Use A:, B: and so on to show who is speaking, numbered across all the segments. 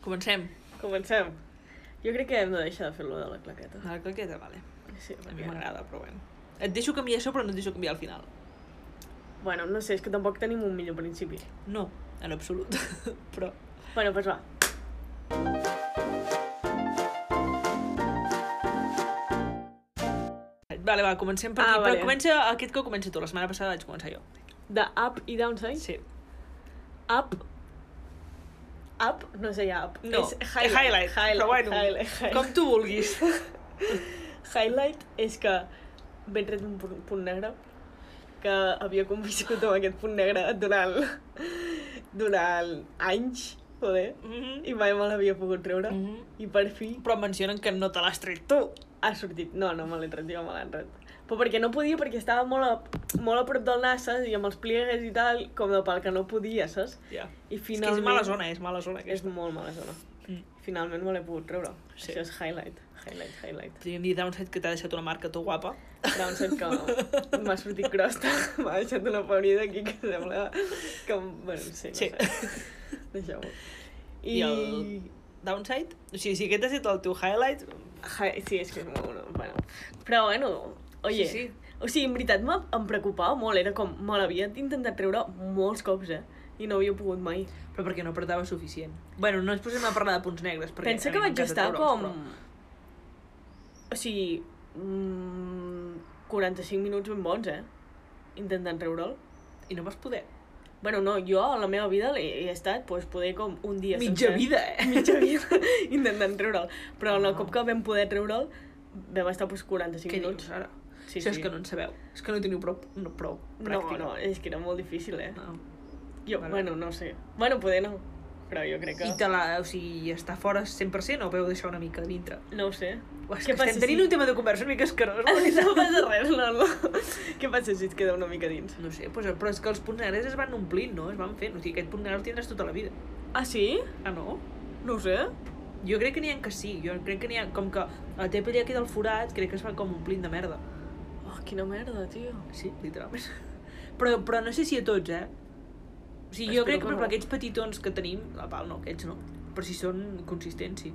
A: Comencem.
B: Comencem. Jo crec que hem de deixar de fer lo de la claqueta.
A: A la claqueta, vale.
B: Sí,
A: Ah. A mi
B: perquè-
A: m'agrada, però bueno. Et deixo canviar això, però no et deixo canviar al final.
B: Bueno, no sé, és que tampoc tenim un millor principi.
A: No, en absolut. però...
B: Bueno, doncs va.
A: Vale, va, comencem per
B: Ah,
A: aquí. Ah,
B: vale.
A: Però comença aquest cop comença tu. La setmana passada vaig començar jo.
B: De up i downside?
A: Sí.
B: Up. Up? No sé, ja up.
A: No,
B: és
A: highlight, highlight, però bueno,
B: highlight, highlight.
A: com tu vulguis.
B: Highlight és que ben tret un punt, punt negre que havia conviscut amb aquest punt negre durant, durant anys, joder,
A: Mhm.
B: Mm-hmm. i mai me l'havia pogut treure. Mm
A: Mhm.
B: -hmm. I per fi
A: Però mencionen que no te l'has tret tu.
B: ha sortit. No, no me l'he tret, jo me l'han tret. Però perquè no podia, perquè estava molt a, molt a prop del nas, saps? I amb els pliegues i tal, com de pel que no podia, saps?
A: Ja.
B: I
A: És que
B: finalment...
A: és mala zona, és mala zona.
B: És
A: Aquesta.
B: molt mala zona.
A: Mm.
B: Finalment me l'he pogut treure.
A: Sí.
B: Sí. Això és highlight, highlight, highlight.
A: Podríem dir Downside que t'ha deixat una marca tu guapa.
B: Downside que m'ha sortit crosta, m'ha deixat una paurida aquí que sembla que... em- Bueno, sí, no
A: Sí.
B: sé. Deixeu-ho.
A: I...
B: I...
A: el Downside? O sigui, si aquest ha estat el teu highlight...
B: Hi... Sí, és que és molt... No, bueno. Però bueno, oye...
A: Sí, sí.
B: O sigui, en veritat m'ha- em preocupava molt, era com... Me l'havia intentat treure molts cops, eh? I no havia pogut mai.
A: Però perquè no apretava suficient. Bueno, no ens posem a parlar de punts negres. Perquè
B: Pensa
A: a
B: que
A: mi
B: vaig
A: m'encanta
B: estar
A: treure'ls,
B: com...
A: però-
B: O sigui... Mm, 45 minuts ben bons, eh? Intentant treure'l.
A: I no vas poder.
B: Bueno, no, jo a la meva vida he, he estat, doncs, poder com un dia
A: Mitja vida, eh?
B: Mitja vida intentant treure'l. Però el
A: No.
B: cop que vam poder treure'l, vam estar doncs, 45
A: Què
B: minuts.
A: dius ara?
B: Sí,
A: Això
B: sí.
A: és que no en sabeu. És que no teniu prou, no, prou
B: No,
A: pràctica.
B: no, és que era molt difícil, eh?
A: no.
B: Jo,
A: Vale.
B: bueno, no sé. Bueno, poder no, però jo crec que...
A: I te la, o sigui, està fora 100% o veu deixar una mica a dintre?
B: No ho sé.
A: O és
B: Què
A: que
B: passa
A: estem
B: si-
A: tenint un tema de conversa una mica escarós. la veritat.
B: No passa res, no, no. Què passa si et queda una mica dins?
A: No sé, pues, però és que els punts negres es van omplint, no? Es van fent. O sigui, aquest punt negre el tindràs tota la vida.
B: Ah, sí?
A: Ah, no?
B: No ho sé.
A: Jo crec que n'hi ha que sí. Jo crec que n'hi ha... Com que a la teva pell ja queda el forat, crec que es va com omplint de merda.
B: Oh, quina merda, tio.
A: Sí, literalment. Però, però no sé si a tots, eh? O sigui,
B: Espero
A: jo crec que, per
B: que no.
A: exemple, aquests petitons que tenim, la pal no, aquests no, però si són consistents, sí.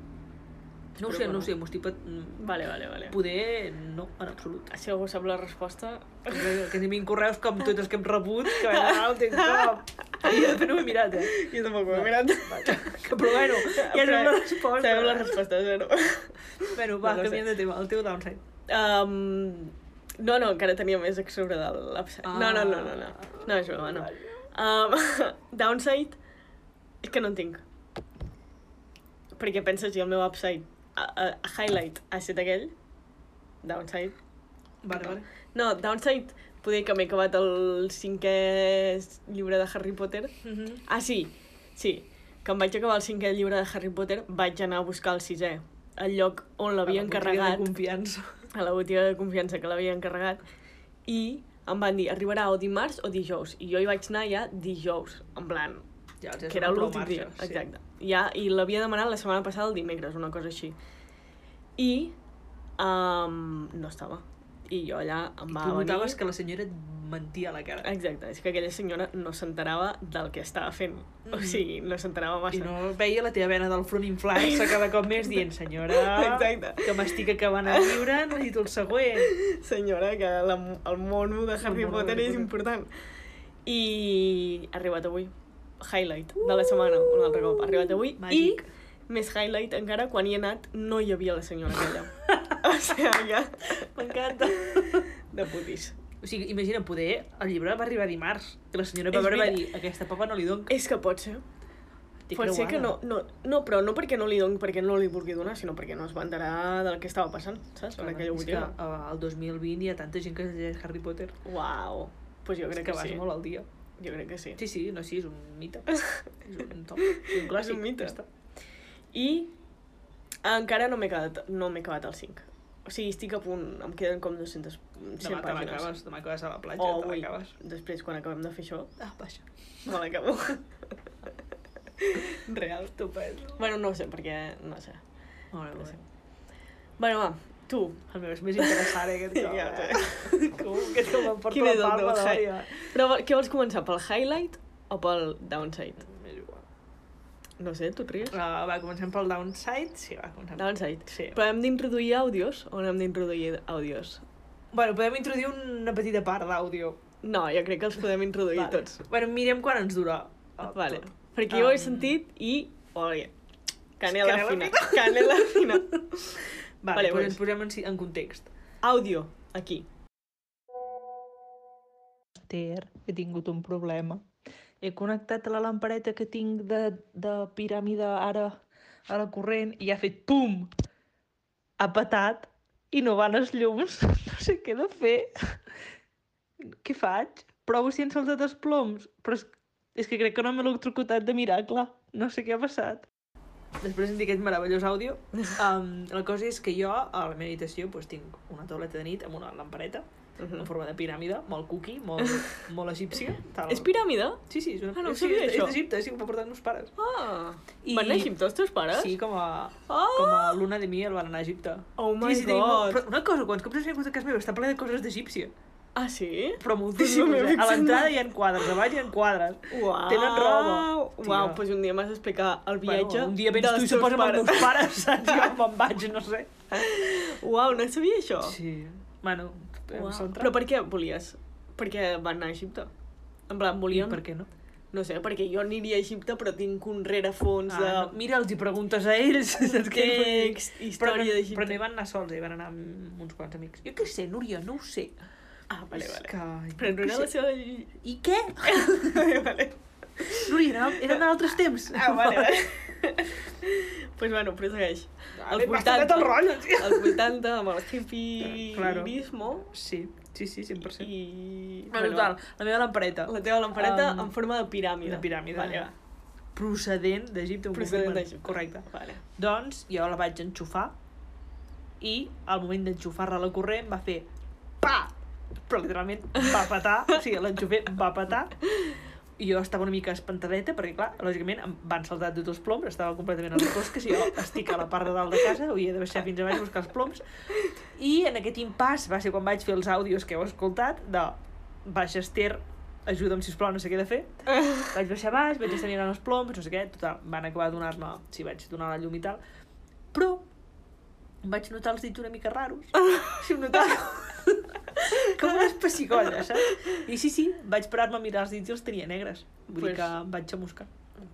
A: No
B: Espero
A: ho sé,
B: que
A: no
B: no.
A: ho sé, m'ho estic... pat- mm,
B: Vale, vale, vale.
A: Poder, no, en absolut.
B: Si algú sap la resposta...
A: Que tenim correus com tots els que hem rebut, que van anar al TikTok. I de fet no ho he mirat, eh?
B: Jo tampoc ho he mirat.
A: Vale. Que, però bueno, ja sabem la resposta.
B: Sabem la resposta, zero.
A: Bueno, va,
B: No ho sé.
A: canviem de tema, el teu downside.
B: Um, no, no, encara tenia més a sobre del l'upside.
A: Ah.
B: No, no, no, no, no. No, és broma, no. Um, downside, és que no en tinc. Perquè penses, jo el meu upside, a, a, a highlight ha estat aquell, downside.
A: Vale, vale.
B: No, downside, poder que m'he acabat el cinquè llibre de Harry Potter.
A: Mhm.
B: Ah, sí, sí. Que em vaig acabar el cinquè llibre de Harry Potter, vaig anar a buscar el sisè. El lloc on l'havia
A: A la botiga
B: encarregat,
A: De confiança.
B: a la botiga de confiança que l'havia encarregat, i em van dir, arribarà o dimarts o dijous. I jo hi vaig anar ja dijous, en plan,
A: Ja, els
B: que era l'últim dia. Exacte. Ja, I l'havia demanat la setmana passada el dimecres, una cosa així. I um, no estava. I jo allà em va
A: tu
B: venir...
A: notaves que la senyora et mentia a la cara.
B: Exacte, és que aquella senyora no s'enterava del que estava fent. O
A: Mhm.
B: sigui, no s'enterava massa.
A: I no veia la teva vena del front inflant-se cada cop més dient, senyora,
B: Exacte.
A: que m'estic acabant de viure, necessito el següent.
B: Senyora, que la, el mono de Harry
A: mono de
B: Potter
A: Harry
B: és
A: Potter.
B: important. I ha arribat avui. Highlight de la setmana, un altre cop. Ha arribat avui.
A: Uh! Màgic.
B: I més highlight encara, quan hi he anat, no hi havia la senyora aquella. o sigui, que...
A: M'encanta.
B: De putis.
A: O sigui, imagina, poder, el llibre va arribar dimarts, que la senyora va
B: És
A: veure i va dir,
B: veritat.
A: aquesta papa no li dono.
B: És que pot ser.
A: Té
B: pot ser
A: creuada.
B: que no, no, no, però no perquè no li doni, perquè no li vulgui donar, sinó perquè no es va enterar del que estava passant, saps? Per
A: Clar,
B: aquella
A: és que
B: botiga.
A: eh, el 2020 hi ha tanta gent que llegeix Harry Potter.
B: Uau. Pues jo
A: És
B: crec
A: que,
B: que,
A: vas
B: sí.
A: molt al dia.
B: Jo crec que sí.
A: Sí, sí, no, sí, és un mite. és un top. És un clàssic.
B: És un mite.
A: ja està.
B: I encara no m'he quedat, no m'he acabat el 5. O sigui, estic a punt, em queden com 200 100
A: Demà te
B: pàgines. Oh,
A: l'acabes, demà acabes a la platja,
B: O
A: te
B: avui,
A: l'acabes.
B: després, quan acabem de fer això,
A: Ah, vaja.
B: me l'acabo. Real.
A: Estupendo.
B: Bueno, no ho sé, perquè... no sé.
A: Molt bé,
B: No
A: molt
B: sé.
A: bé.
B: Bueno, va, tu.
A: El meu és més interessant, eh, aquest cop.
B: Ja ho
A: eh? Com que te me'n porto
B: Quin
A: la
B: és el
A: palma
B: teu
A: de
B: hi-
A: l'àrea.
B: Però què vols començar, pel highlight o pel downside?
A: M'és igual.
B: No sé, tu et ries?
A: Uh, va, comencem pel downside. Sí, va, comencem.
B: Downside.
A: Sí.
B: Però hem d'introduir àudios o no hem d'introduir àudios?
A: Bueno, podem introduir una petita part d'àudio.
B: No, jo crec que els podem introduir vale. tots.
A: Bueno, mirem quan ens dura. el
B: Vale.
A: tot.
B: Perquè jo ho he
A: Em,
B: sentit i... Oye, canela,
A: Canela
B: fina. Canela fina.
A: Vale,
B: Vale,
A: vale doncs
B: doncs.
A: ens posem en, si- en context.
B: Àudio, aquí.
C: Ter, he tingut un problema. He connectat la lampareta que tinc de, de piràmide ara a la corrent i ha fet pum! Ha patat i no van els llums. No sé què he de fer. Què faig? Provo ciència als altres ploms. Però és, és que crec que no m'he electrocutat de miracle. No sé què ha passat.
A: Després de sentir aquest meravellós àudio, um, la cosa és que jo, a la meva habitació, doncs, tinc una tauleta de nit amb una lampareta
B: Uh
A: en
B: -huh.
A: forma de piràmide, molt cuqui, molt, molt egípcia. Tal.
B: És piràmide?
A: Sí, sí, és una...
B: Ah, no ho
A: és- sí,
B: sabia,
A: és,
B: això.
A: és d'Egipte, sí, ho va portar els meus pares.
B: Ah. I...
A: I-
B: Van anar a Egipte els teus pares?
A: Sí, com a,
B: Oh!
A: com a luna de miel van anar a Egipte.
B: Oh my
A: Tia, si
B: god.
A: tenim molt- Però una cosa, quants cops has vingut a casa meva? Està ple de coses d'egípcia.
B: Ah, sí?
A: Però
B: m'he
A: moltíssimes, eh? A
B: fixat
A: l'entrada
B: mai.
A: hi ha quadres, a baix hi ha quadres.
B: Uau.
A: Tenen roba.
B: Uau,
A: Tia.
B: doncs un dia m'has d'explicar el viatge
A: bueno, un dia vens
B: dels
A: tu i
B: teus
A: suposa amb els
B: pares.
A: meus pares, saps? Jo me'n vaig, no sé.
B: Uau, no sabia això.
A: Sí. Bueno, podem
B: Oh. Uau.
A: centrar.
B: Però per què volies? Perquè van anar a Egipte. En plan,
A: I
B: volien...
A: per què no?
B: No sé, perquè jo aniria a Egipte però tinc un rerefons de...
A: Ah, no. Mira, els hi preguntes a ells. Saps què vull dir?
B: Context,
A: Però, no,
B: història d'Egipte.
A: però no hi van anar sols, eh? hi van anar amb uns quants amics. Jo què sé, Núria, no ho sé.
B: Ah, vale, vale.
A: Que...
B: Però
A: jo
B: no era
A: què
B: la
A: sé.
B: seva...
A: I què?
B: vale.
A: Núria, eren, eren altres temps.
B: Ah, vale, vale. pues bueno, prosegueix.
A: Vale, m'has tallat el rotllo, tio.
B: El 80 amb el hippiismo
A: Sí, sí, sí, 100%. I...
B: i...
A: Bueno, total, la meva lampareta.
B: La teva lampareta
A: Em,
B: en forma de piràmide.
A: de piràmide.
B: Vale, va.
A: Procedent d'Egipte, un
B: Procedent
A: confirmen.
B: d'Egipte.
A: Correcte.
B: Vale.
A: Doncs jo la vaig enxufar i al moment d'enxufar-la a la corrent va fer pa! Però literalment va patar, o sigui, l'enxufé va patar i jo estava una mica espantadeta perquè, clar, lògicament em van saltar tots els ploms, estava completament a les fosques i jo estic a la part de dalt de casa, havia de baixar fins a baix a buscar els ploms i en aquest impàs va ser quan vaig fer els àudios que heu escoltat de baixa Esther, ajuda'm sisplau, no sé què he de fer vaig baixar a baix, vaig estar mirant els ploms, no sé què, total, van acabar de donar-me, sí, vaig donar la llum i tal, però em vaig notar els dits una mica raros, sí, em notava com una espessicolla, saps? I sí, sí, vaig parar-me a mirar els dits i els tenia negres, vull
B: Pues-
A: dir que em vaig xamuscar.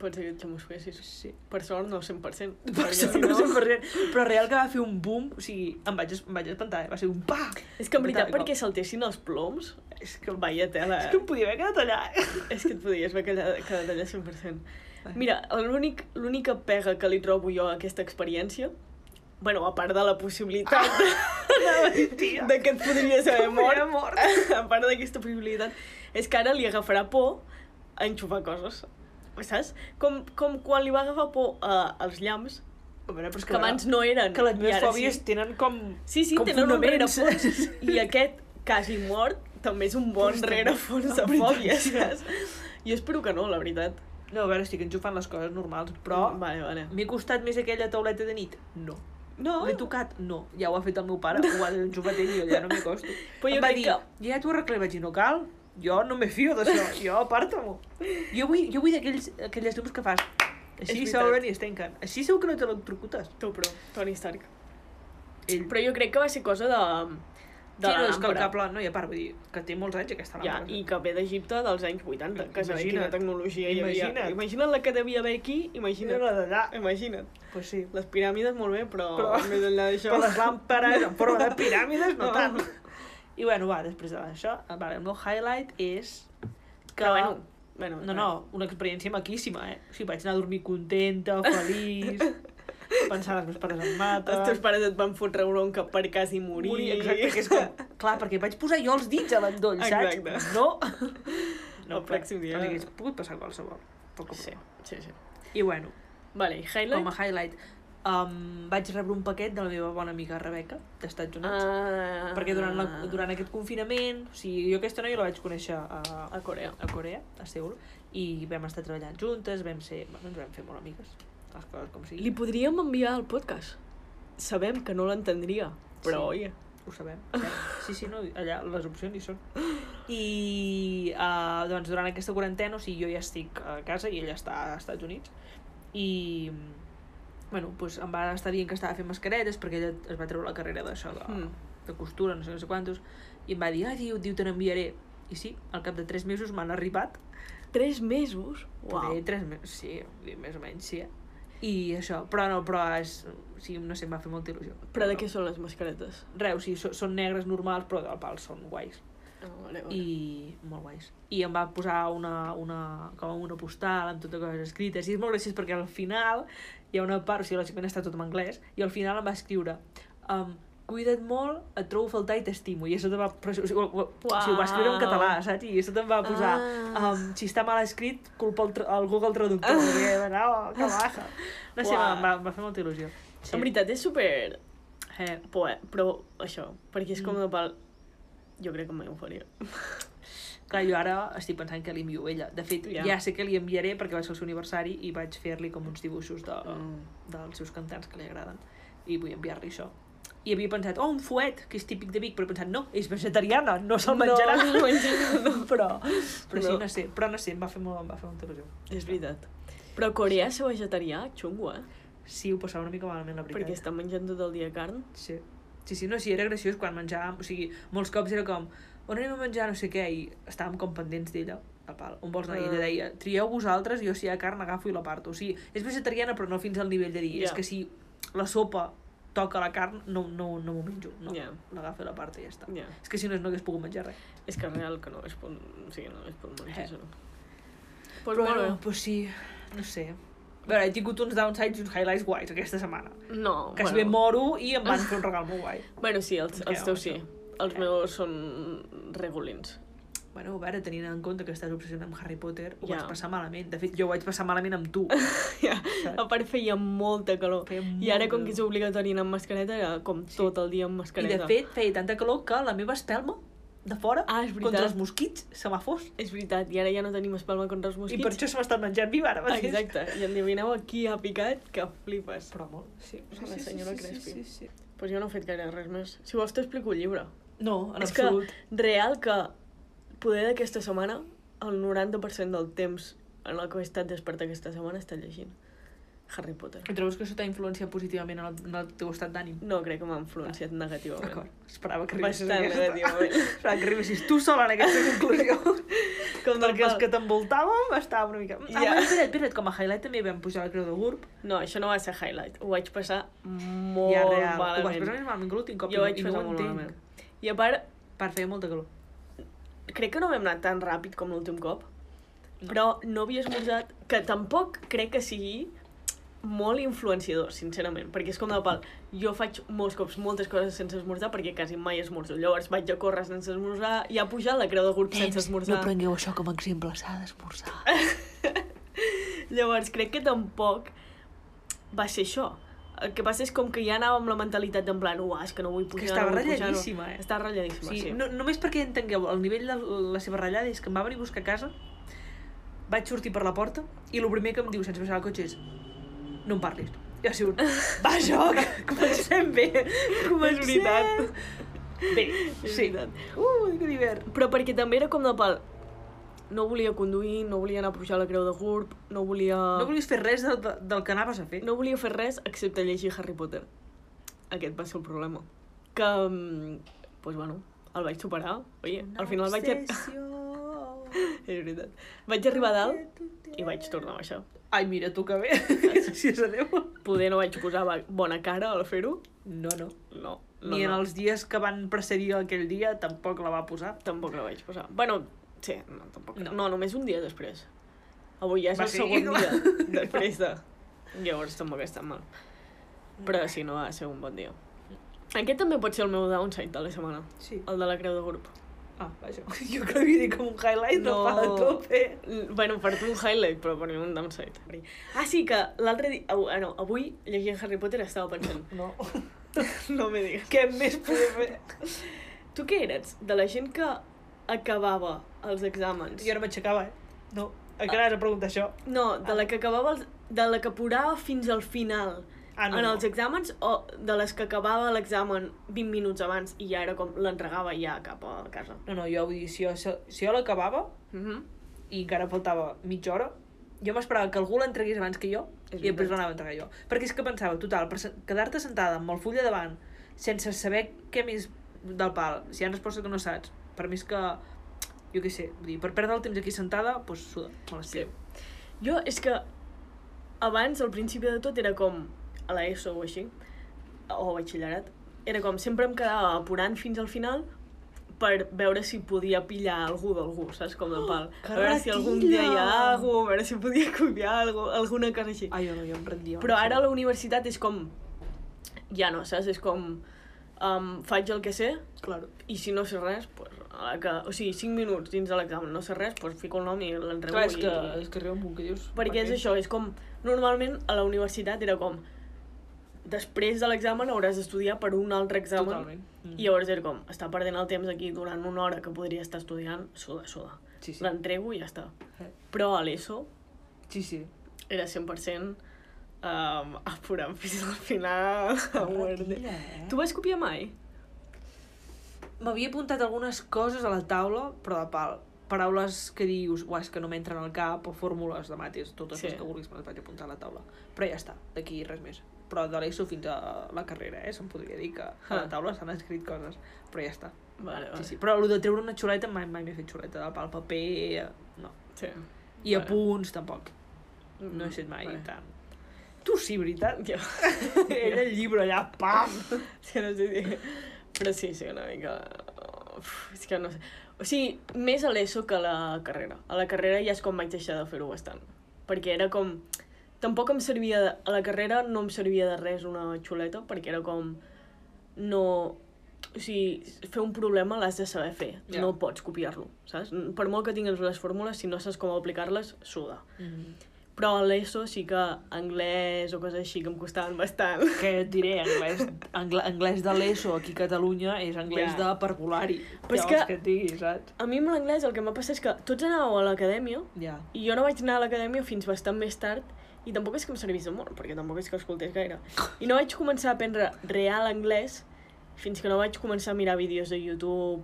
B: Pot ser que et xamusquessis.
A: Sí.
B: Per sort, no 100%.
A: Per
B: perquè
A: sort,
B: si
A: no sé per res. Però real que va fer un boom, o sigui, em vaig, es- em vaig espantar, eh? va ser un pa!
B: És que en veritat,
A: Tal qual.
B: perquè saltessin els ploms,
A: És que,
B: Vaya tela,
A: és que em podia haver quedat allà. eh?
B: És que et podies haver quedat, quedat allà 100%. Mira, l'únic- l'única pega que li trobo jo a aquesta experiència, bueno, a part de la possibilitat
A: Ah, Tia.
B: de que et podries haver mort,
A: M'hauria mort.
B: a part d'aquesta possibilitat, és que ara li agafarà por a enxufar coses. Saps? Com, com quan li va agafar por a, als llamps,
A: Veure, però és
B: que abans no eren.
A: que les
B: i
A: meves
B: ara
A: fòbies
B: sí.
A: tenen com...
B: Sí, sí,
A: com
B: tenen un
A: fonaments.
B: rerefons. I aquest quasi mort també és un bon
A: Ostres,
B: rerefons de
A: la Ah, veritat,
B: fòbies,
A: sí.
B: saps? Jo espero que no, la veritat.
A: No, a veure, estic enxufant les coses normals, però...
B: Vale, vale.
A: M'he costat més aquella tauleta de nit? No.
B: No,
A: L'he tocat? No. Ja ho ha fet el meu pare, ho ha enxufat ell i jo ja no m'hi costo.
B: Però jo
A: em va
B: crec
A: dir,
B: que-
A: ja t'ho arreglé, vaig dir, no cal, jo no me fio d'això, jo aparta-m'ho. Jo vull, jo vull d'aquells- aquelles llums que fas, així
B: És veritat.
A: s'obren i es tanquen. Així segur que no t'electrocutes.
B: tu, però, Tony Stark.
A: Ell...
B: Però jo crec que va ser cosa de... de
A: sí,
B: la
A: no, és que el
B: làmpara.
A: cable, no, i a part, vull dir, que té molts anys aquesta
B: Ja,
A: làmpara.
B: i que ve d'Egipte dels anys 80, que sabia quina
A: Imagina't.
B: tecnologia hi havia.
A: Imagina't.
B: Imagina't la que devia haver aquí,
A: Mira
B: imagina't.
A: la d'allà.
B: Imagina't.
A: Pues sí.
B: Les piràmides molt bé, però, però...
A: Però-
B: més enllà d'això...
A: Però les làmpares en forma de piràmides, no,
B: No.
A: tant. I bueno, va, després d'això, vale, el meu highlight és que...
B: Però Ah, bueno, bueno,
A: No, no, una experiència maquíssima, eh? O sigui, vaig anar a dormir contenta, feliç, pensant que els meus pares em maten...
B: Els teus pares et van fotre bronca per quasi morir.
A: Morir, exacte, que és com... Clar, perquè vaig posar jo els dits a l'endoll, saps?
B: Exacte.
A: No...
B: El pròxim dia.
A: Perquè hagués pogut passar qualsevol. Poc
B: Sí, sí, sí.
A: I bueno,
B: Vale, i highlight?
A: com a highlight, um, vaig rebre un paquet de la meva bona amiga Rebeca, d'Estats Units.
B: Ah...
A: perquè durant, la, durant aquest confinament, o sigui, jo aquesta noia la vaig conèixer a,
B: A Corea.
A: a Corea, a Seul, i vam estar treballant juntes, vam ser, bueno, ens vam fer molt amigues, les coses com
B: Li
A: siguin,
B: podríem enviar al podcast. Sabem que no l'entendria, però
A: Sí.
B: oi.
A: ho sabem. eh? Sí, sí, no, allà les opcions hi són. eh, I uh, doncs durant aquesta quarantena, o sigui, jo ja estic a casa i ella està a Estats Units, i bueno, doncs em va estar dient que estava fent mascaretes perquè ella es va treure la carrera d'això de,
B: Mm.
A: de costura, no sé, no sé quantos i em va dir, ah, diu, diu, te n'enviaré i sí, al cap de tres mesos m'han arribat
B: Tres mesos? Uau.
A: Poder tres mesos, sí, vull dir, més o menys, sí. eh? I això, però no, però és... Sí, no sé, em va fer molta il·lusió.
B: Però de què són les mascaretes?
A: Reus, sí, so, són negres normals, però del pal són guais.
B: Oh, vale, vale.
A: I molt guais. I em va posar una, una, com una postal amb totes coses escrites. I és molt graciós perquè al final hi ha una part, o sigui, lògicament està tot en anglès, i al final em va escriure um, cuida't molt, et trobo a faltar i t'estimo. I això te va... Però, o sigui, ho, ho, o sigui, ho va escriure en
B: Uau.
A: català, saps? I això te'n va posar...
B: Ah.
A: Ah. Um, si està mal escrit, culpa el, tra- el Google Traductor. perquè, bueno, que baja. No sé,
B: Uau.
A: em va, em va fer molta il·lusió.
B: Sí. En veritat és super
A: Eh,
B: poe, però això, perquè és com de pal... Jo crec que mai ho faria.
A: Clar, jo ara estic pensant que li envio a ella. De fet,
B: Ja.
A: ja, ja sé que li enviaré perquè va ser el seu aniversari i vaig fer-li com uns dibuixos de,
B: Mm.
A: dels seus cantants que li agraden. I vull enviar-li això. I havia pensat, oh, un fuet, que és típic de Vic, però he pensat, no, és vegetariana, no se'l menjarà.
B: No, no menjarà, no.
A: Però, però sí,
B: No.
A: no sé, però no sé, em va fer molt, em va fer molta il·lusió.
B: És veritat. Però a Corea ser vegetarià, xungo, eh?
A: Sí, ho passava una mica malament, la veritat.
B: Perquè estan menjant tot el dia carn.
A: Sí. Sí, sí, no, sí, era graciós quan menjàvem, o sigui, molts cops era com, on anem a menjar no sé què, i estàvem com pendents d'ella, a pal, on vols anar, i ella
B: Ah.
A: deia, trieu vosaltres, jo si hi ha carn agafo i la parto, o sigui, és vegetariana però no fins al nivell de dir,
B: Ja.
A: és que si la sopa toca la carn, no, no, no m'ho menjo, no,
B: Ja.
A: l'agafo i la parto i ja està.
B: Ja.
A: És que si no, no hagués pogut menjar res.
B: És que real que no es pot, o sigui, no es pot menjar
A: Eh.
B: això. Pues però
A: bueno,
B: bueno,
A: pues sí, no sé. A veure, he tingut uns downsides i uns highlights guais aquesta setmana.
B: no,
A: Que bueno.
B: bueno.
A: ben moro i em van fer un regal molt guai.
B: Bueno, sí, els, els
A: Ja,
B: teus sí.
A: això.
B: Els
A: Ja.
B: meus són regulins.
A: Bueno, a veure, tenint en compte que estàs obsessionat amb Harry Potter, ho
B: Ja.
A: yeah. vaig passar malament. De fet, jo ho vaig passar malament amb tu.
B: Ja, a part feia molta calor.
A: Feia
B: I ara,
A: molta
B: com
A: calor.
B: que és obligatori anar amb mascareta, era com sí. tot el dia amb
A: I de
B: mascareta.
A: fet, feia tanta calor que la meva espelma de fora,
B: Ah, és veritat.
A: contra els mosquits, se m'ha fos.
B: És veritat, i ara ja no tenim espalma contra els
A: I
B: mosquits.
A: per això se m'ha estat menjant viva ara mateix.
B: Exacte, i endevineu a qui ha picat, que flipes.
A: Però molt. Sí,
B: A la senyora Crespi.
A: Sí, sí, sí.
B: Pues jo no he fet gaire res més. Si vols t'explico el llibre.
A: No, en
B: és
A: absolut.
B: que real que poder d'aquesta setmana el 90% del temps en el que he estat desperta aquesta setmana he estat llegint Harry Potter.
A: Que... Trobes que això t'ha influenciat positivament en el, en el teu estat d'ànim?
B: No eh. crec que m'ha influenciat negativament.
A: D'acord. Esperava que arribessis a
B: Bastant
A: aquesta.
B: negativament.
A: Esperava que arribessis tu sola en aquesta conclusió.
B: Com del
A: Perquè els
B: pal.
A: que t'envoltàvem estàvem una mica... Ah,
B: Ja.
A: bueno, espera't, espera't, com a highlight també vam pujar la creu de GURB.
B: No, això no va ser highlight. Ho vaig passar molt
A: ja, real. Ho vaig
B: malament.
A: passar més malament que l'últim cop
B: Jo ho vaig
A: i no
B: passar
A: ho
B: molt
A: entenc.
B: malament. I a part,
A: Per feia molta calor.
B: crec que no vam anar tan ràpid com l'últim cop, però no havia esmorzat, que tampoc crec que sigui molt influenciador, sincerament, perquè és com de pal. Jo faig molts cops moltes coses sense esmorzar perquè quasi mai esmorzo. Llavors vaig a córrer sense esmorzar i a pujar la creu de grup
A: Eh,
B: sense esmorzar.
A: prengueu això com a exemple, s'ha d'esmorzar.
B: Llavors crec que tampoc va ser això. El que passa és com que ja anava amb la mentalitat d'en plan, uah, és que no vull pujar,
A: estava
B: no vull pujar",
A: ratlladíssima, eh?
B: Estava ratlladíssima,
A: Sí,
B: sí.
A: no, només perquè entengueu el nivell de la seva ratllada és que em va venir a buscar a casa, vaig sortir per la porta i el primer que em diu sense baixar el cotxe és no em parlis. I ha sigut, va joc, comencem bé, comencem.
B: És veritat.
A: Bé,
B: És
A: sí.
B: veritat.
A: Uh, que divert.
B: Però perquè també era com de pal, no volia conduir, no volia anar a pujar la creu de Gurb, no volia...
A: No volies fer res del, del que anaves a fer.
B: no volia fer res excepte llegir Harry Potter. Aquest va ser el problema. Que, mm, pues bueno, el vaig superar. Oye, al final vaig... A... És veritat. Vaig arribar a dalt i vaig tornar a baixar.
A: Ai, mira tu que bé. si és a Déu.
B: Poder no vaig posar ba- bona cara al fer-ho.
A: No, no.
B: No, no,
A: Ni en
B: no.
A: els dies que van precedir aquell dia tampoc la va posar.
B: Tampoc la vaig posar. Bueno, sí, no, tampoc. No,
A: No.
B: no només un dia després. Avui ja és
A: Va
B: el
A: ser
B: segon
A: igual.
B: dia després de... Llavors tampoc està mal. Mm. Però sí, no va ser un bon dia. Aquest també pot ser el meu downside de la setmana.
A: Sí.
B: El de la creu de grup.
A: Ah, vaja. Jo que havia dit com un highlight no. del pal a tope.
B: L- Bueno, per tu un highlight, però per mi un downside. Ah, sí, que l'altre dia... Au, ah, no, avui llegint Harry Potter estava pensant...
A: No.
B: no me digues.
A: Què més podia fer?
B: Tu què eres? De la gent que acabava els exàmens?
A: Jo no m'aixecava, eh? No. Encara has de preguntar això.
B: No, de la que acabava els, de la que apurava fins al final
A: Ah, no,
B: en
A: no.
B: els exàmens o de les que acabava l'examen 20 minuts abans i ja era com l'entregava ja cap a casa.
A: No, no, jo vull dir, si jo, si jo l'acabava
B: Mhm.
A: i encara faltava mitja hora, Jo m'esperava que algú l'entregués abans que jo
B: És
A: i després
B: veritat.
A: l'anava a entregar jo. Perquè és que pensava, total, per se- quedar-te sentada amb el full a davant sense saber què més del pal, si hi ha resposta que no saps, per més que, jo què sé, vull dir, per perdre el temps aquí sentada, doncs suda, me l'escriu. Sí.
B: Jo, és que abans, al principi de tot, era com a l'ESO o així, o batxillerat, era com sempre em quedava apurant fins al final per veure si podia pillar algú d'algú, saps? Com del pal.
A: que
B: a veure si algun dia hi
A: ratilla!
B: ha algú, a veure si podia copiar algú, alguna cosa així.
A: Ai, jo no, jo em rendia.
B: Però ara a la universitat és com... Ja no, saps? És com... Um, faig el que sé
A: Claro.
B: i si no sé res, pues, a la que, o sigui, 5 minuts dins de l'examen no sé res, pues, fico el nom i l'entrego.
A: Clar, és
B: i-
A: que, és que arriba un punt que dius...
B: perquè és això, és com... Normalment a la universitat era com... Després de l'examen hauràs d'estudiar per un altre examen.
A: Totalment. Mm.
B: I llavors era com, està perdent el temps aquí durant una hora que podria estar estudiant, suda, suda.
A: Sí, sí.
B: L'entrego i ja està.
A: Eh.
B: Però a l'ESO
A: Sí, sí.
B: era 100% um, apurant fins al final. a muerte.
A: Ratilla, eh?
B: Tu vas copiar mai?
A: M'havia apuntat algunes coses a la taula, però de pal. Paraules que dius, uah, és que no m'entren al cap, o fórmules de mates, totes
B: Sí.
A: sí. les que vulguis me les vaig apuntar a la taula. Però ja està, d'aquí res més. Però de l'ESO fins a la carrera, eh? Se'm podria dir que a
B: Ah.
A: la taula s'han escrit coses, però ja està.
B: Vale, vale.
A: Sí, sí. Però el de treure una xuleta mai mai m'he fet xuleta de pal, paper... eh, No.
B: sí.
A: I
B: Vale.
A: apunts, tampoc. No he
B: Mm,
A: set mai
B: vale.
A: tant. Tu sí, veritat.
B: Jo,
A: Ella el llibre allà, pam!
B: sí, no sé dir. Però sí, sí, una mica... Uf, és que no sé. O sigui, més a l'ESO que a la carrera. A la carrera ja és com vaig deixar de fer-ho bastant. Perquè era com... Tampoc em servia... De... A la carrera no em servia de res una xuleta, perquè era com... No... O sigui, fer un problema l'has de saber fer.
A: Ja.
B: No pots copiar-lo, saps? Per molt que tinguis les fórmules, si no saps com aplicar-les, suda.
A: Mm.
B: Però a l'ESO sí que anglès o coses així que em costaven bastant.
A: que et diré, anglès, angl anglès de l'ESO aquí a Catalunya és anglès
B: Ja.
A: de parvulari.
B: Però és
A: Què vols
B: que-
A: que et digui, saps?
B: A mi amb l'anglès el que m'ha passat és que tots anàveu a l'acadèmia
A: Ja.
B: i jo no vaig anar a l'acadèmia fins bastant més tard i tampoc és que em servís de molt, perquè tampoc és que escoltés gaire. I no vaig començar a aprendre real anglès fins que no vaig començar a mirar vídeos de YouTube,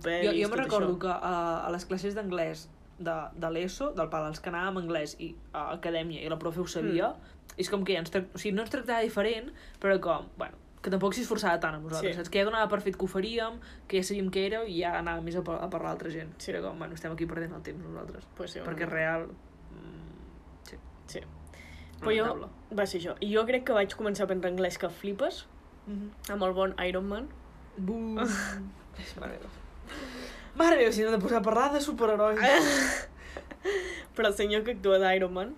A: Jo,
B: pel·lis,
A: jo me'n
B: tot
A: recordo
B: això.
A: que a, a les classes d'anglès de, de l'ESO, del pal, els que anàvem a anglès i a acadèmia i la profe ho sabia,
B: Hmm.
A: és com que ja ens trac... o sigui, no ens tractava diferent, però com, bueno, que tampoc s'hi esforçava tant a nosaltres,
B: Sí.
A: sí. saps? Que ja donava per fet que ho faríem, que ja sabíem què era i ja anava més a, par a parlar a altra gent.
B: Sí.
A: Sí. Era com, bueno, estem aquí perdent el temps nosaltres.
B: Pues sí, una
A: Perquè
B: mica.
A: real... Mm, sí.
B: Sí. Però jo...
A: lamentable.
B: Va ser això. I jo crec que vaig començar a aprendre anglès que flipes,
A: Mm
B: amb el bon Iron Man.
A: -hmm. Mare meva. Mare meva, si no hem de posar a parlar de superherois.
B: Però el senyor que actua d'Iron Man,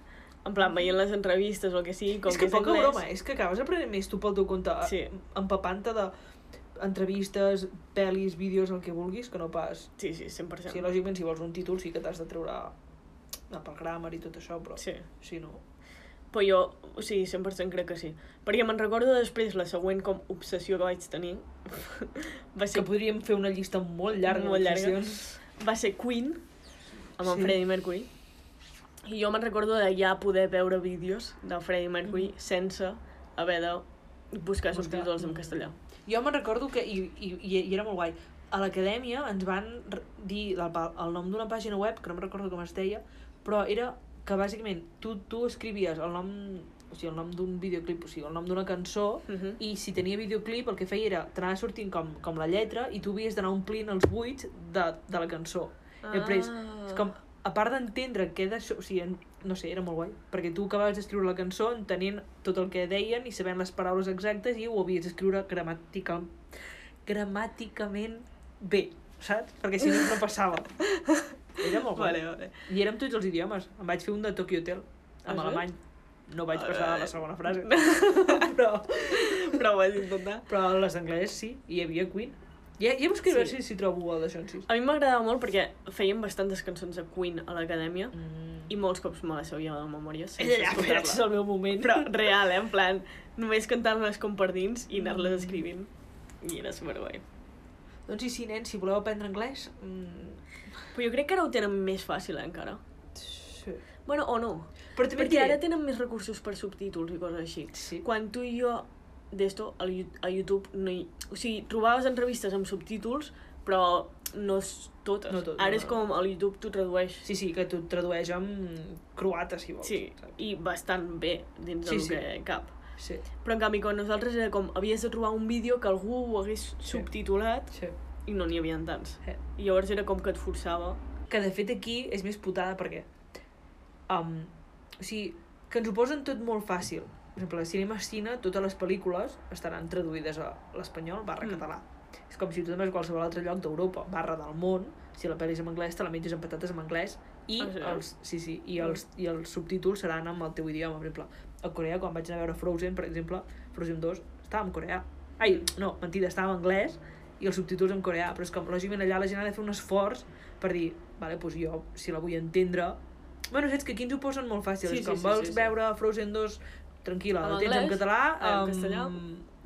B: en plan, veient les entrevistes o el que sigui, com
A: és que,
B: és
A: poca
B: anglès...
A: broma, eh? és que acabes aprenent més tu pel teu compte,
B: Sí.
A: empapant-te de entrevistes, pel·lis, vídeos, el que vulguis, que no pas...
B: Sí, sí, 100%.
A: Sí, lògicament, si vols un títol sí que t'has de treure la pel grammar i tot això, però
B: Sí.
A: si no...
B: Però jo, o sigui, 100% crec que sí. Perquè me'n recordo després la següent com obsessió que vaig tenir. va,
A: Sí.
B: ser,
A: Que podríem fer una llista molt llarga.
B: Molt llarga.
A: d'obsessions.
B: va ser Queen, amb en
A: Sí.
B: Freddie Mercury. I jo me'n recordo de ja poder veure vídeos de Freddie Mercury sense haver de buscar,
A: Mm-hmm. Buscar,
B: subtítols en
A: mm.
B: castellà.
A: Jo me'n recordo que, i, i, i, i era molt guai, a l'acadèmia ens van r- dir el, pa- el nom d'una pàgina web, que no me'n recordo com es deia, però era que bàsicament tu, tu escrivies el nom o sigui, el nom d'un videoclip, o sigui, el nom d'una cançó,
B: Mhm.
A: i si tenia videoclip el que feia era t'anava sortint com, com la lletra i tu havies d'anar omplint els buits de, de la cançó. Ah. I després, és com, a part d'entendre què d'això, o sigui, en- no sé, era molt guai, perquè tu acabaves d'escriure la cançó entenent tot el que deien i sabent les paraules exactes i ho havies d'escriure gramàtica, gramàticament bé, saps? Perquè si no, no passava. Era molt guai. Vale.
B: Vale, vale.
A: I érem tots els idiomes. Em vaig fer un de Tokyo Hotel,
B: Ah, sí?
A: amb alemany. No vaig passar a
B: Vale.
A: la segona frase. però,
B: Però ho vaig intentar.
A: però les d'anglès sí, hi havia Queen. Ja, ja buscaré a veure
B: Sí.
A: si, si trobo el de Sonsis.
B: A mi m'agradava molt perquè feien bastantes cançons de Queen a l'acadèmia
A: Mm.
B: i molts cops me les sabia de memòria sense
A: Ella ja, espera,
B: escoltar-la.
A: és el meu moment.
B: Però real, eh? En plan, només cantar-les com per dins i anar-les escrivint. I era superguai.
A: Doncs sí, sí, nens, si voleu aprendre anglès... Mm,
B: Però jo crec que ara ho tenen més fàcil, eh, encara.
A: sí.
B: Bueno, o no.
A: Però també et
B: Perquè
A: diré...
B: ara tenen més recursos per subtítols i coses així.
A: Sí.
B: Quan tu i jo, d'esto, al Yu- a YouTube, no hi... O sigui, trobaves entrevistes amb subtítols, però no és totes.
A: No tot, no,
B: Ara és
A: no.
B: com el YouTube t'ho tradueix.
A: Sí, sí, que tu et tradueix en croata, si vols.
B: Sí,
A: saps?
B: i bastant bé dins
A: Sí,
B: del
A: sí.
B: que cap.
A: Sí,
B: Però en canvi, quan nosaltres era com, havies de trobar un vídeo que algú ho hagués subtitulat
A: sí.
B: i no n'hi havia tants.
A: Eh.
B: I llavors era com que et forçava.
A: Que de fet aquí és més putada perquè... Um, o sigui, que ens ho posen tot molt fàcil. Per exemple, a Cinema Cine, totes les pel·lícules estaran traduïdes a l'espanyol barra
B: Mm.
A: mm. català. És com si tu demanes a qualsevol altre lloc d'Europa, barra del món, si la pel·li és en anglès, te la menges amb patates en anglès, i,
B: Ah, sí?
A: els, sí, sí, i, els, i els subtítols seran amb el teu idioma. Per exemple, a Corea, quan vaig anar a veure Frozen, per exemple, Frozen 2, estava en coreà. Ai, no, mentida, estava en anglès i els subtítols en coreà, però és com, lògicament, allà la gent ha de fer un esforç per dir, vale, doncs jo, si la vull entendre... Bueno, saps que aquí ens ho posen molt fàcil,
B: Sí,
A: és
B: sí,
A: com,
B: sí,
A: vols
B: sí, sí.
A: veure Frozen 2, tranquil·la,
B: En
A: la tens en
B: anglès,
A: català,
B: en
A: em,
B: castellà.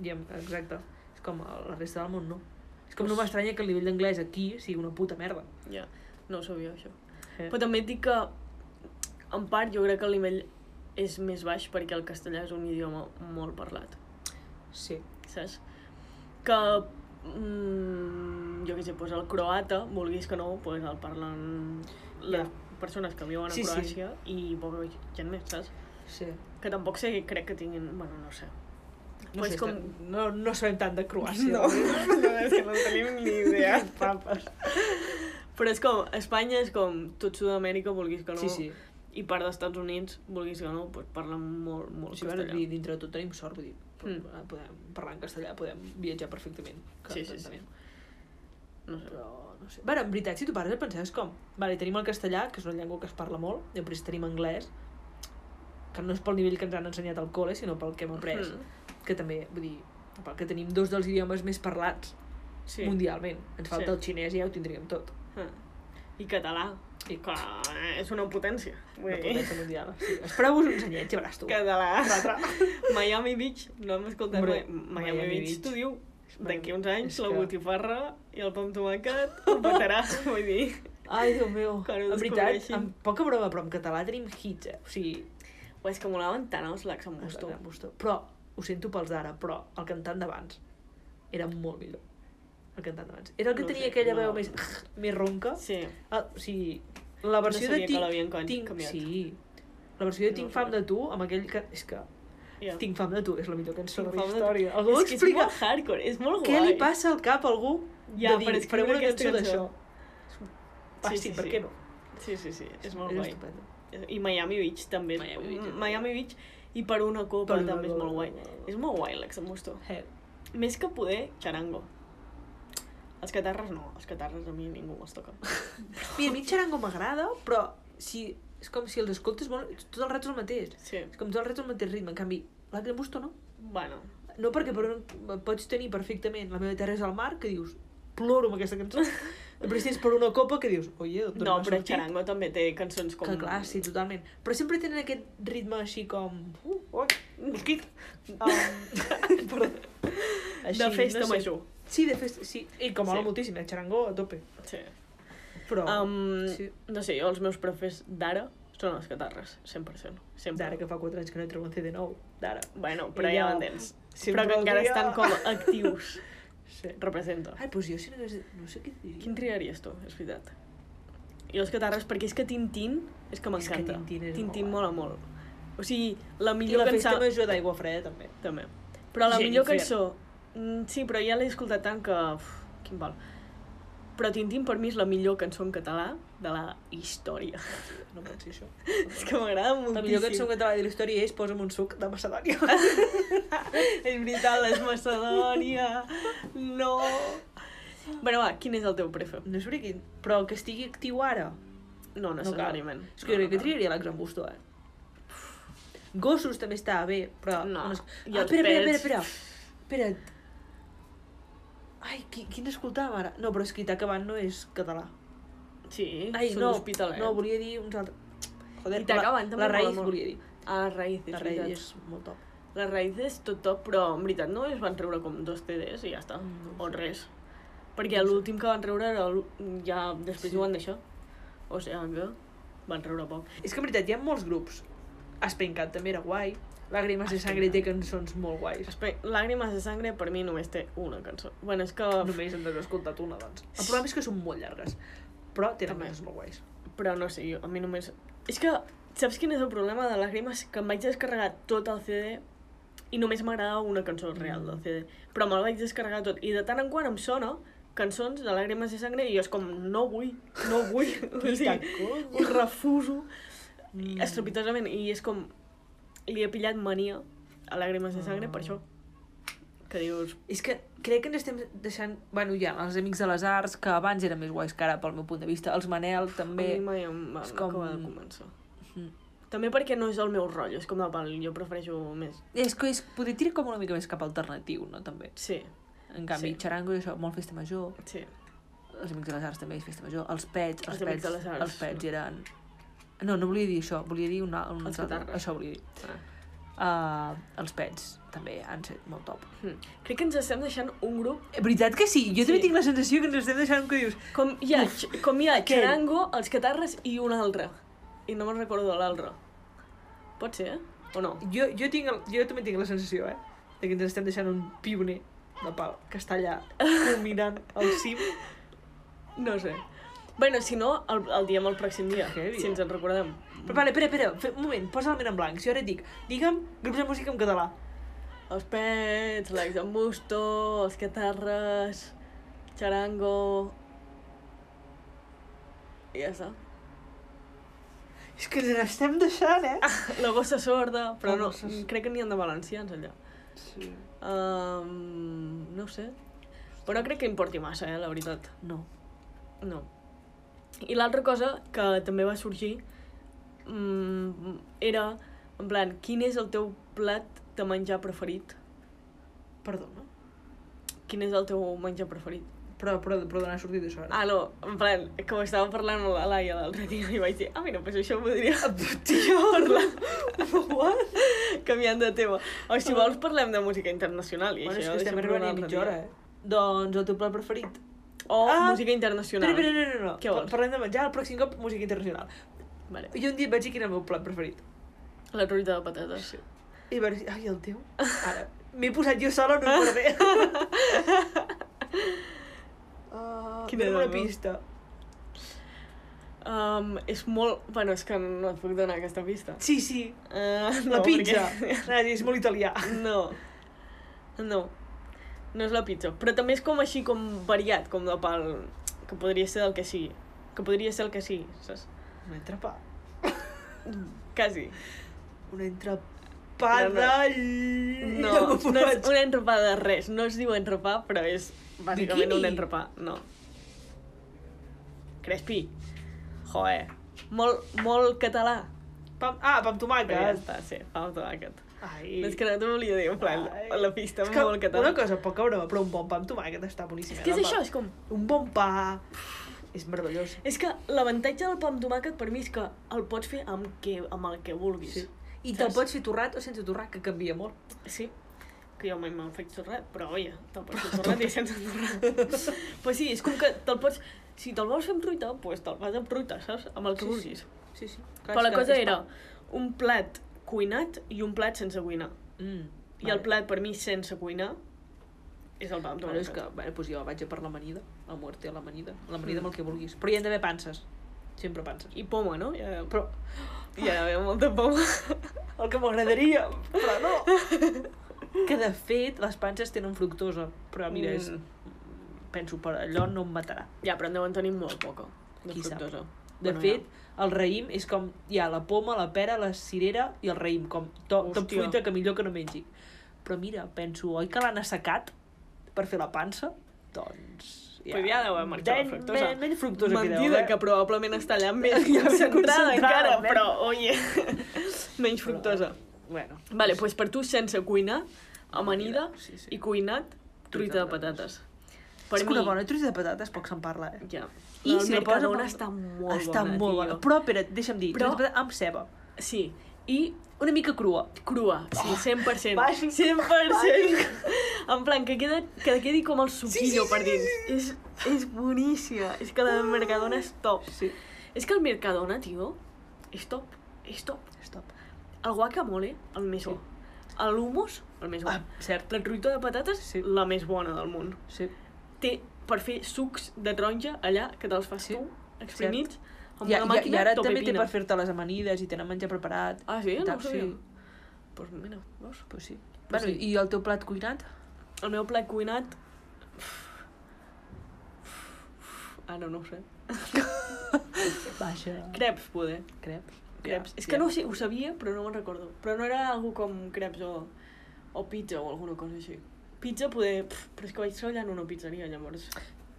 A: I en, exacte, és com, a la resta del món no. És com, no m'estranya que el nivell d'anglès aquí sigui una puta merda.
B: Ja, no ho sabia, això.
A: Eh.
B: Però també et dic que, en part, jo crec que el nivell és més baix perquè el castellà és un idioma molt parlat,
A: Sí.
B: saps? Que, mm, jo què sé, doncs el croata, vulguis que no, doncs el parlen les
A: Ja.
B: persones que viuen a
A: Sí, sí.
B: Croàcia i poca gent més, saps?
A: Sí.
B: Que tampoc sé, crec que tinguin... Bueno, no sé.
A: No,
B: Pues
A: sé,
B: com-
A: com... no, no sabem tant de Croàcia.
B: no, és que no tenim ni idea.
A: Papes.
B: Però és com, Espanya és com tot Sud-amèrica, vulguis que no,
A: Sí, sí.
B: i part dels Estats Units, vulguis que no, doncs parlen molt, molt
A: Sí, bueno,
B: castellà.
A: i dintre de tot tenim sort, vull dir,
B: Mm.
A: mm. podem parlar en castellà, podem viatjar perfectament.
B: Sí, sí, sí.
A: perfectament.
B: No sé.
A: Però, no sé. Bueno, en veritat, si tu pares, et penses és com... Vale, tenim el castellà, que és una llengua que es parla molt, i després tenim anglès, que no és pel nivell que ens han ensenyat al col·le, sinó pel que hem après.
B: Mm.
A: Mm. Que també, vull dir, pel que tenim dos dels idiomes més parlats
B: Sí.
A: sí. mundialment. Ens falta
B: Sí.
A: sí. el xinès i ja ho tindríem tot.
B: Ah. I català.
A: I
B: Que és una potència.
A: una
B: Vull dir,
A: potència mundial. Sí. Espereu-vos uns anyets i veràs tu.
B: català. Miami Beach, no hem escoltat
A: Hombre,
B: mai. Miami,
A: Miami
B: Beach,
A: Beach.
B: t'ho diu. D'aquí uns
A: És
B: anys, la
A: que-
B: botifarra i el pa amb tomàquet ho petarà, vull dir.
A: Ai, Déu meu.
B: Que no
A: en veritat,
B: descobreixin.
A: amb poca broma, però en català tenim hits, eh? O sigui,
B: O és que molaven tant els lacs amb
A: Busto.
B: gusto.
A: Busto. Però, ho sento pels d'ara, però el cantant d'abans era molt millor. El cantant d'abans. Era el que
B: No
A: no
B: ho
A: tenia sé,
B: sé,
A: aquella
B: no.
A: no. veu més, més ronca.
B: Sí.
A: Ah, o sigui, la versió
B: sabia
A: de
B: que
A: Tinc...
B: l'havien can-
A: tinc
B: canviat.
A: Sí. La versió de
B: No
A: Tinc
B: ho
A: fam
B: sé.
A: de tu, amb aquell que... És que
B: Yeah.
A: Tinc fam de tu és la millor cançó de la
B: fam de-
A: història. Algú
B: És que és
A: explica
B: molt hardcore, és molt
A: què
B: guai.
A: li passa al cap a algú
B: Ja,
A: de dir,
B: per
A: fareu
B: escriure
A: una
B: aquesta
A: cançó d'això.
B: cançó.
A: Ah, sí, sí, per què no?
B: Sí, sí, sí, és molt guai.
A: estupendo.
B: I Miami Beach també.
A: Miami
B: Miami
A: Beach,
B: Beach,
A: eh?
B: Miami Beach i per una copa
A: Per una
B: també és
A: copa.
B: molt guai. És molt guai l'ex amb gusto.
A: Eh,
B: Més que poder, xarango. Els catarres no, els catarres a mi ningú me'ls toca.
A: Mira, a mi Charango m'agrada, però si, és com si els escoltes molt, tot el rato és el mateix.
B: Sí.
A: És com tot el rato el mateix ritme, en canvi, la Gran Busto no.
B: Bueno,
A: No perquè per un, pots tenir perfectament La meva terra és el mar, que dius, ploro amb aquesta cançó. Després tens per una copa que dius, oye, d'on
B: no,
A: m'ha
B: però
A: sortit?"
B: Charango també té cançons com...
A: Que clar, sí, totalment. Però sempre tenen aquest ritme així com... Uh, oi, mosquit. Um, però...
B: De festa major.
A: Sí, de festa, sí. I com mola
B: Sí.
A: moltíssim, eh? Xarango a tope.
B: Sí.
A: Però...
B: Um,
A: sí.
B: No sé, jo els meus profes d'ara són els catarres, 100%. Sempre.
A: D'ara que fa 4 anys que no treu un CD nou. D'ara.
B: Bueno, però
A: Ella
B: ja m'entens.
A: sempre
B: Però que encara
A: voldria-
B: estan com actius.
A: Sí.
B: Representa.
A: Ai, doncs jo si no hagués... No sé què et diria.
B: Quin triaries tu, és veritat. I els catarres, perquè és que Tintín és que
A: És que
B: m'encanta.
A: Tintín és
B: Tintín
A: molt
B: mola molt. O sigui, la
A: I
B: millor
A: la festa
B: cançó...
A: major d'aigua freda, també.
B: També. Però la millor
A: Jennifer.
B: cançó... Mm, sí, però ja l'he escoltat tant que... Uf, quin val. Però Tintín per mi és la millor cançó en català de la història.
A: No pot ser això.
B: és que m'agrada moltíssim.
A: La millor cançó en català de la història és Posa'm un suc de Macedònia.
B: És veritat, és Macedònia. No. Bueno, va, quin és el teu prefe?
A: No sé quin, però que estigui actiu ara.
B: No necessàriament.
A: És que jo crec que triaria l'Axan Busto, eh? Gossos també estava bé, però...
B: No.
A: es-
B: I
A: ah,
B: els
A: espera, espera,
B: pets.
A: espera, espera. Espera't. Ai, qui, quin escoltàvem ara? No, però és que Itaca Van no és català.
B: Sí,
A: Ai,
B: són
A: no,
B: hospitalet.
A: no, volia dir uns altres... Joder,
B: I Taca Van
A: la,
B: també
A: la raïz
B: mola molt.
A: volia dir.
B: A la raïz, és
A: La raïz és molt top.
B: La raïz és tot top, però en veritat no es van treure com dos CDs i ja està.
A: No
B: o res. Perquè l'últim que van treure era l'ú- ja després
A: Sí.
B: ho van deixar. O sigui que van treure poc.
A: És que en veritat hi ha molts grups. Espencat també era guai. Làgrimes de sangre té cançons molt guais.
B: Espe- Làgrimes de sangre per mi només té una cançó. Bueno, és que...
A: Només en has escoltat una, doncs. El problema és que són molt llargues, però tenen
B: També.
A: cançons molt guais.
B: Però no sé, jo, a mi només... És que, saps quin és el problema de Làgrimes? Que em vaig descarregar tot el CD i només m'agradava una cançó real del CD. Però me'l vaig descarregar tot. I de tant en quant em sona cançons de Làgrimes i Sangre i jo és com, no vull, no vull. o sigui, ho refuso
A: Mm.
B: estrepitosament. I és com, li he pillat mania a Làgrimes i Sangre per això. Que dius,
A: És que crec que ens estem deixant... Bueno, ja, els Amics de les Arts, que abans eren més guais que ara, pel meu punt de vista. Els Manel,
B: a
A: també.
B: mi mai em van
A: és com-
B: acabar de començar.
A: Mm.
B: També perquè no és el meu rotllo, és com, "Ah, val, jo prefereixo més.
A: És que és, poder tirar com una mica més cap alternatiu, no? També.
B: Sí,
A: En canvi,
B: Sí.
A: sí. xarango i això, molt festa major.
B: sí.
A: Els Amics de les Arts també és festa major. Els pets, els,
B: Els Amics
A: pets,
B: de les Arts,
A: els pets
B: no.
A: eren... No, no volia dir això, volia dir una, un
B: Els
A: altre-
B: petardes.
A: Això volia dir.
B: Ah.
A: Uh, els pets també han set molt top.
B: Hm. Crec que ens estem deixant un grup
A: Eh, Veritat que sí? Jo sí. també
B: Sí.
A: tinc la sensació que ens estem deixant que dius
B: com hi ha, com hi ha
A: aquell.
B: Xarango, els Catarres i un altre. I no me'n recordo de l'altre. Pot ser, eh? O no?
A: jo, jo, tinc el, jo també tinc la sensació, eh? De que ens estem deixant un pioner de pal que està allà culminant el cim.
B: No sé. Bueno, si no, el, el diem el pròxim dia,
A: Heavy, eh?
B: si ens en recordem.
A: Però vale, espera, espera, fe- un moment, posa la ment en blanc. Si jo ara et dic, digue'm grups de música en català.
B: Els Pets, l'Ex en Busto, els Catarres, Xarango... I ja està.
A: És que ens estem deixant, eh?
B: La bossa sorda, però
A: La
B: no,
A: bossa sorda.
B: crec que n'hi ha de valencians allà.
A: Sí.
B: Um, no ho sé. Però no crec que importi massa, eh, la veritat.
A: No.
B: No. I l'altra cosa que també va sorgir mm, era, en plan, quin és el teu plat de menjar preferit?
A: Perdona.
B: Quin és el teu menjar preferit?
A: Però, però, però d'on ha sortit això ara?
B: Ah, no, en plan, que ho estava parlant amb la Laia l'altre dia i vaig dir, ah, mira, pues això ho podria parlar. What? Canviant de tema. O si vols parlem de música internacional i
A: bueno, és
B: això
A: que
B: ho deixem
A: estem
B: per un
A: arribant a
B: altre
A: mitja
B: dia.
A: hora, eh? Doncs el teu plat preferit.
B: O
A: Ah,
B: música
A: Espera,
B: internacional.
A: espera, no, no, no.
B: Què vols?
A: Pa- Parlem de menjar, el pròxim cop música internacional.
B: Vale.
A: Jo un dia et vaig dir quin era el meu plat preferit.
B: La truita de patates.
A: Sí. I vaig dir, ai, el teu? Ara, m'he posat jo sola, no em guardé. Uh,
B: Quina
A: Quina una
B: dona.
A: pista.
B: Um, és molt... Bueno, és que no et puc donar aquesta pista.
A: Sí, sí,
B: Uh,
A: la
B: no,
A: pizza.
B: perquè-
A: Anava a dir, és molt italià.
B: No. No. No és la pizza. Però també és com així, com variat, com de pal... Que podria ser del que sigui. Que podria ser el que sigui, saps?
A: Un entrepà.
B: Quasi.
A: Una entrepà
B: No, no.
A: de...
B: No,
A: llop
B: no és
A: aprovats.
B: un entrepà de res. No es diu entrepà, però és bàsicament
A: Biquini.
B: un entrepà. No. Crespi. Joe. Molt, molt català.
A: Pam, ah, pam
B: Però ja
A: tomàquet.
B: està, sí, fa aquest.
A: Ai.
B: És que no t'ho volia dir, en plan,
A: Ai.
B: la pista
A: És que
B: molt català.
A: una cosa, poca broma, però un bon pa amb tomàquet està boníssim.
B: És que és
A: eh,
B: això,
A: el
B: és com...
A: pa. Un bon pa és meravellós.
B: És que l'avantatge del pa amb tomàquet per mi és que el pots fer amb, que, amb el que vulguis.
A: Sí. I
B: te'l
A: te'l
B: pots
A: pots fer torrat o sense torrat, que canvia molt.
B: Sí. Que jo mai me'n faig torrat, però oia, te'l pots fer torrat i sense torrat. però sí, és com que te'l pots... Si te'l vols fer amb truita, doncs te'l fas amb truita, saps? Amb el que
A: Sí, sí.
B: vulguis.
A: Sí, sí. Clar,
B: Però
A: és
B: la
A: que
B: cosa
A: és
B: era
A: pa.
B: un plat cuinat i un plat sense cuinar.
A: Mm,
B: I el plat per mi sense cuinar és el pa amb
A: Bueno, és
B: tomàquet.
A: que, bueno, doncs jo vaig a per l'amanida, a muerte a l'amanida, l'amanida
B: Mm.
A: amb el que vulguis. Però hi han d'haver panses, sempre panses.
B: I poma, no? Ja,
A: Però
B: hi ha d'haver molta poma.
A: el que m'agradaria, però no. que de fet les panses tenen fructosa, però mira, és,
B: Mm.
A: penso per allò no em matarà.
B: Ja, però en deuen tenir molt poca. De
A: Qui sap.
B: fructosa.
A: De bueno,
B: Bueno,
A: fet, el raïm és com... Hi ha la poma, la pera, la cirera i el raïm, com to, top
B: Hòstia.
A: fruita que millor que no mengi. Però mira, penso, oi que l'han assecat per fer la pansa? Doncs...
B: Ja. Pues ja deu haver marxat la
A: Men-
B: fructosa.
A: men- Menys fructosa
B: Mentida,
A: que deu, eh?
B: que probablement està allà més
A: Ja
B: concentrada,
A: més concentrada,
B: encara,
A: men.
B: però, oye, menys fructosa.
A: Bueno.
B: Vale, doncs pues per tu sense cuinar, amanida
A: Sí, sí.
B: i cuinat, truita de patates. Per
A: és que una bona truita de patates poc se'n parla, eh?
B: Ja.
A: I
B: I
A: si
B: si
A: la
B: el
A: posa
B: posa...
A: amb-
B: està molt
A: Està
B: bona,
A: molt
B: tio.
A: bona. Però, espera, deixa'm dir,
B: Però-
A: truita de patates amb ceba.
B: Sí, i
A: Una mica crua.
B: crua, sí, 100%.
A: vagi.
B: 100%. En plan, que, queda, que quedi com el suquillo
A: sí,
B: per
A: sí,
B: dins. És, és boníssima. És que la del Mercadona és top.
A: Sí.
B: És que el Mercadona, tio, és top. És top.
A: Stop.
B: El guacamole, el més bo. Sí. l'humus, el més bo.
A: Ah, cert.
B: La truita de patates,
A: Sí.
B: sí. la més bona del món.
A: Sí.
B: Té per fer sucs de taronja allà, que te'ls fas
A: Sí.
B: sí. tu, exprimits, amb
A: I,
B: ja,
A: i,
B: una
A: I
B: màquina
A: ara
B: tope
A: també té
B: pina.
A: per fer-te les amanides i tenen menjar preparat.
B: Ah, sí?
A: I
B: No
A: tal,
B: ho
A: sí.
B: sabia. Sí. Pues mira, veus?
A: Pues sí.
B: Pues
A: bueno,
B: sí.
A: i el teu plat cuinat?
B: El meu plat cuinat... Ara no ho sé.
A: Baixa.
B: Creps, poder.
A: Crep.
B: Creps. és que no ho sé, ho sabia, però no me'n recordo. Però no era algú com creps o, o pizza o alguna cosa així. Pizza poder... Pff, però és que vaig treballar en una pizzeria, llavors.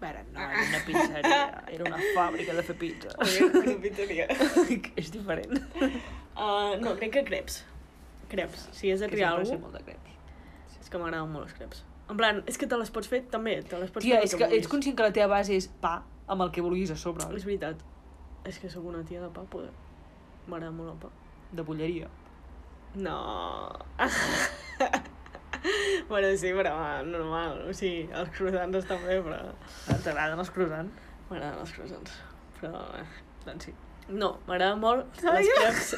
A: Ara no, era una pizzeria. Era una fàbrica de fer pizza.
B: una pizzeria.
A: és diferent.
B: Uh, no, crec que creps. Creps. Si és de
A: Que
B: triar
A: sempre sé
B: alguna
A: molt de creps.
B: cosa, és que m'agraden molt els creps. En plan, és que te les pots fer també, te les pots
A: Tia,
B: fer el
A: és que ets
B: vulguis.
A: conscient que la teva base és pa amb el que vulguis a sobre,
B: És veritat. És que sóc una tia de pa, poder. M'agrada molt el pa.
A: de bulleria.
B: No. bueno, sí, però normal. O sigui, els croissants també, però...
A: T'agraden els croissants?
B: M'agraden els croissants. Però... eh,
A: Doncs sí.
B: No, m'agraden molt
A: Ai,
B: les creps.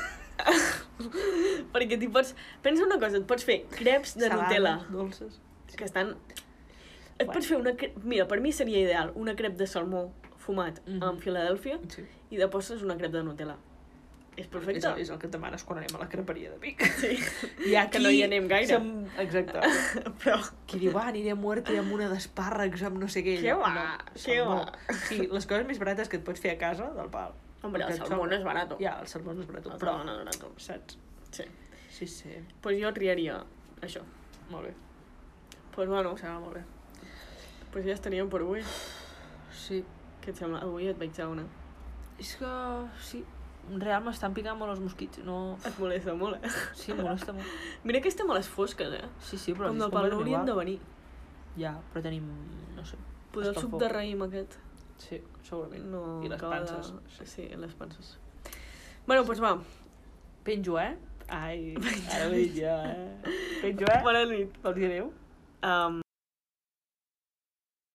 B: Perquè t'hi pots... Pensa una cosa, et pots fer creps de
A: Salades,
B: Nutella,
A: Dolces.
B: que estan... Et
A: Bueno.
B: pots fer una crep... Mira, per mi seria ideal una crep de salmó fumat
A: Mhm.
B: amb Filadèlfia
A: Sí.
B: i de postres una crep de Nutella. És perfecte.
A: És, és el que et demanes quan anem a la creperia de Vic.
B: Sí.
A: I
B: Que no hi anem gaire.
A: Som... Exacte.
B: Però...
A: Qui diu, ah, aniré a muerte amb una d'espàrrecs, amb no sé què.
B: Què va? Què
A: salmó.
B: va?
A: Sí, les coses més barates que et pots fer a casa, del pal.
B: Hombre, el
A: Perquè et
B: salmó
A: sobra.
B: no és barat.
A: Ja, el salmó no és barat,
B: El
A: però...
B: salmó no és barat.
A: Saps?
B: Sí.
A: Sí, sí.
B: Pues jo triaria això.
A: Molt bé.
B: Pues bueno,
A: Em sembla molt bé.
B: pues ja estaríem per avui.
A: Sí.
B: Què et sembla? Avui et veig a una.
A: És que... Sí. En real m'estan picant molt els mosquits. No...
B: Et molesta molt, eh?
A: Sí, em molesta molt.
B: Mira que estem a les fosques, eh?
A: Sí, sí, però...
B: Però Com
A: si és
B: del pal no
A: completament
B: hauríem de
A: igual.
B: venir.
A: Ja, però tenim... No sé.
B: Poder el
A: Escalfor.
B: suc de raïm aquest.
A: Sí, segurament.
B: No,
A: I les
B: acaba
A: panses.
B: De... Sí, les panses. Bueno, doncs pues va.
A: Penjo, eh? Ai, ara ho he dit jo, eh? Penjo, eh?
B: Bona nit.
A: Vols dir adéu?
B: Um,